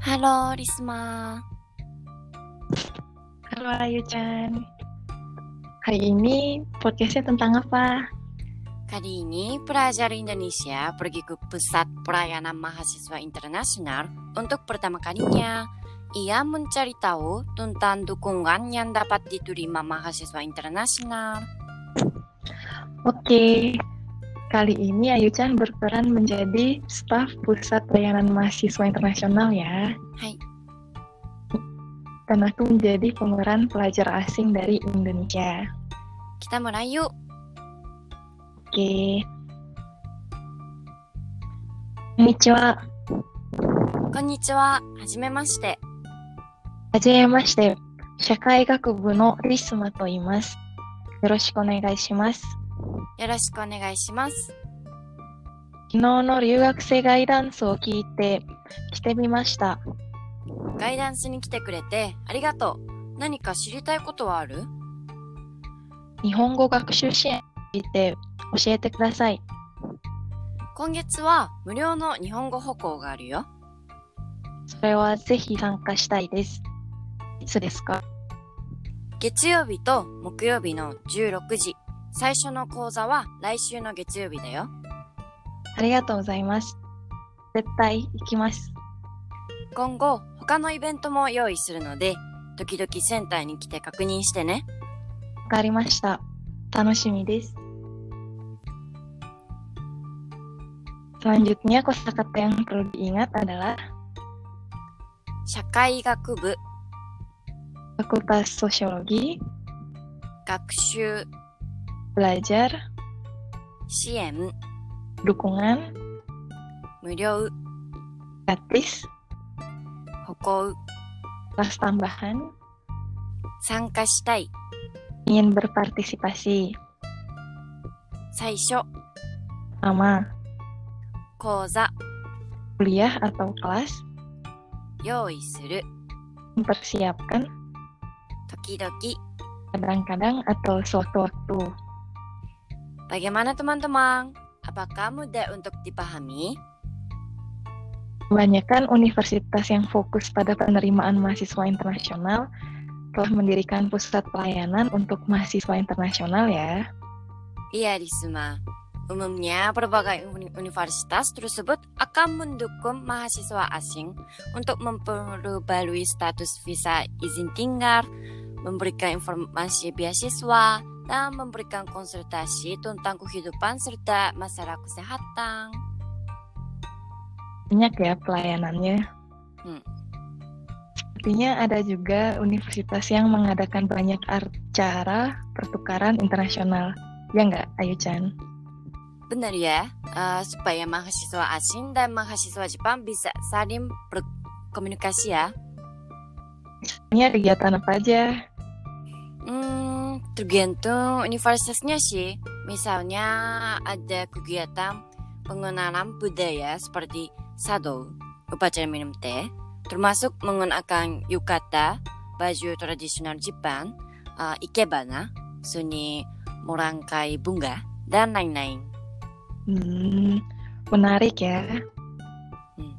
ハロー、リスマ Halo Ayu Chan. Hari ini podcastnya tentang apa? ー。Kali ini pelajar Indonesia pergi ke pusat pelayanan mahasiswa internasional untuk pertama kalinya. Ia mencari tahu tentang dukungan yang dapat diterima mahasiswa internasional. Oke, kali ini Ayu Chan berperan menjadi staf Pusat Pelayanan Mahasiswa Internasional ya. Hai. Dan aku menjadi pemeran pelajar asing dari Indonesia. Kita mulai yuk. Oke. Konnichiwa. こんにちは。はじめまして。はじめまして。社会学部のリスマと言います。よろしくお願いします。よろしくお願いします。昨日の留学生ガイダンスを聞いて来てみました。ガイダンスに来てくれてありがとう。何か知りたいことはある日本語学習支援について教えてください。今月は無料の日本語歩行があるよ。それはぜひ参加したいです。いつですか月曜日と木曜日の16時。最初の講座は来週の月曜日だよ。ありがとうございます。絶対行きます。今後、他のイベントも用意するので、時々センターに来て確認してね。わかりました。楽しみです。Selanjutnya kosakata yang perlu diingat adalah 社会学部、 Fakultas Sosiologi, 学習、 Belajar, 支援、 Dukungan, 無料、 Gratis, 歩行、 Kelas Tambahan, 参加したい、 ingin berpartisipasi 最初、 sama 講座、 kuliah atau kelas, 用意する、 mempersiapkan 時々。 kadang-kadang atau sewaktu-waktu. Bagaimana teman-teman? Apakah mudah untuk dipahami? Kebanyakan universitas yang fokus pada penerimaan mahasiswa internasional telah mendirikan pusat pelayanan untuk mahasiswa internasional ya. Iya, Risma. Umumnya, berbagai uni- universitas tersebut akan mendukung mahasiswa asing untuk memperbarui status visa izin tinggal, memberikan informasi beasiswa, dan memberikan konsultasi tentang kehidupan serta masalah kesehatan. Banyak ya pelayanannya. Hmm. Sepertinya ada juga universitas yang mengadakan banyak acara pertukaran internasional. Ya nggak, Ayu Chan? Benar ya, Eh, supaya mahasiswa asing dan mahasiswa Jepang bisa saling berkomunikasi ya. Ini ada kegiatan apa aja? Hmm, tergantung universitasnya sih. Misalnya ada kegiatan pengenalan budaya seperti sado, upacara minum teh, termasuk menggunakan yukata, baju tradisional Jepang, eh, ikebana, seni merangkai bunga, dan lain-lain. Hmm, menarik ya. Hmm.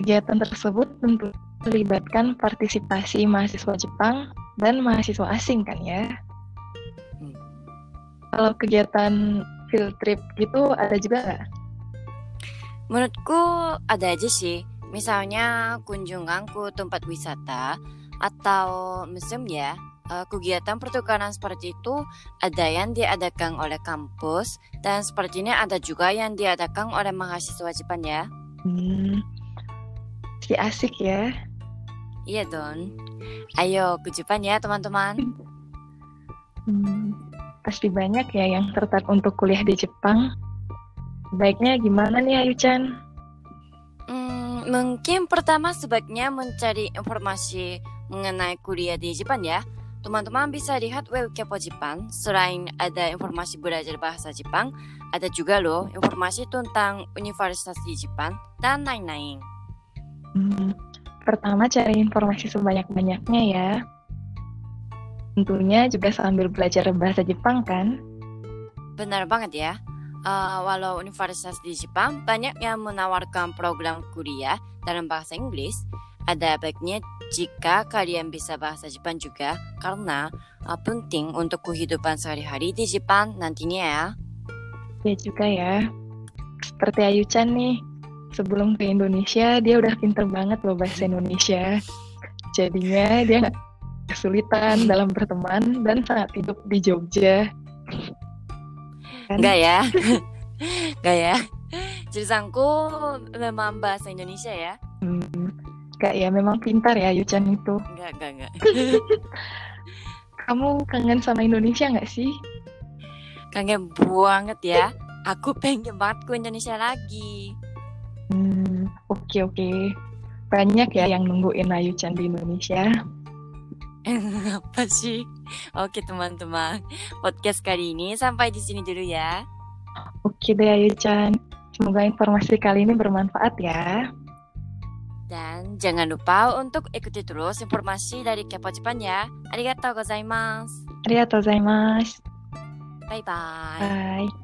Kegiatan tersebut tentu melibatkan partisipasi mahasiswa Jepang dan mahasiswa asing kan ya. Hmm. Kalau kegiatan field trip gitu ada juga nggak? Menurutku ada aja sih. Misalnya kunjungan ke tempat wisata atau museum ya. Eh, Kegiatan pertukaran seperti itu ada yang diadakan oleh kampus dan sepertinya ada juga yang diadakan oleh mahasiswa Jepang ya. Hmm, si asik ya. Iya Don. Ayo ke Jepang ya teman-teman. Hmm, pasti banyak ya yang tertarik untuk kuliah di Jepang. Baiknya gimana nih Ayu Chan? Hmm, mungkin pertama sebaiknya mencari informasi mengenai kuliah di Jepang ya. Teman-teman bisa lihat web Kepo Jepang. Selain ada informasi belajar bahasa Jepang, ada juga loh informasi tentang universitas di Jepang dan lain-lain. Hmm, pertama cari informasi sebanyak-banyaknya ya. Tentunya juga sambil belajar bahasa Jepang kan. Benar banget ya. Eh, walau universitas di Jepang banyak yang menawarkan program kuliah dalam bahasa Inggris, Ada baiknya jika kalian bisa bahasa Jepang juga karena uh, penting untuk kehidupan sehari-hari di Jepang nantinya ya. Ya juga ya. Seperti Ayu-chan nih, sebelum ke Indonesia dia udah pinter banget loh bahasa Indonesia. Jadinya dia nggak kesulitan dalam berteman dan sangat hidup di Jogja. Kan? Enggak ya. Enggak ya. Jurusanku memang bahasa Indonesia ya. Hmm, nggak ya, memang pintar ya Ayu-chan itu. Enggak, enggak, enggak. Kamu kangen sama Indonesia nggak sih? Kangen banget ya. Aku pengen banget ke Indonesia lagi. Hmm, oke oke. Banyak ya yang nungguin Ayu-chan di Indonesia. Apa sih? Oke teman-teman, podcast kali ini sampai di sini dulu ya. Oke deh Ayu-chan. Semoga informasi kali ini bermanfaat ya. Dan jangan lupa untuk ikuti terus informasi dari Kepo Jepang ya. Arigatou gozaimasu. Arigatou gozaimasu. Bye bye. Bye.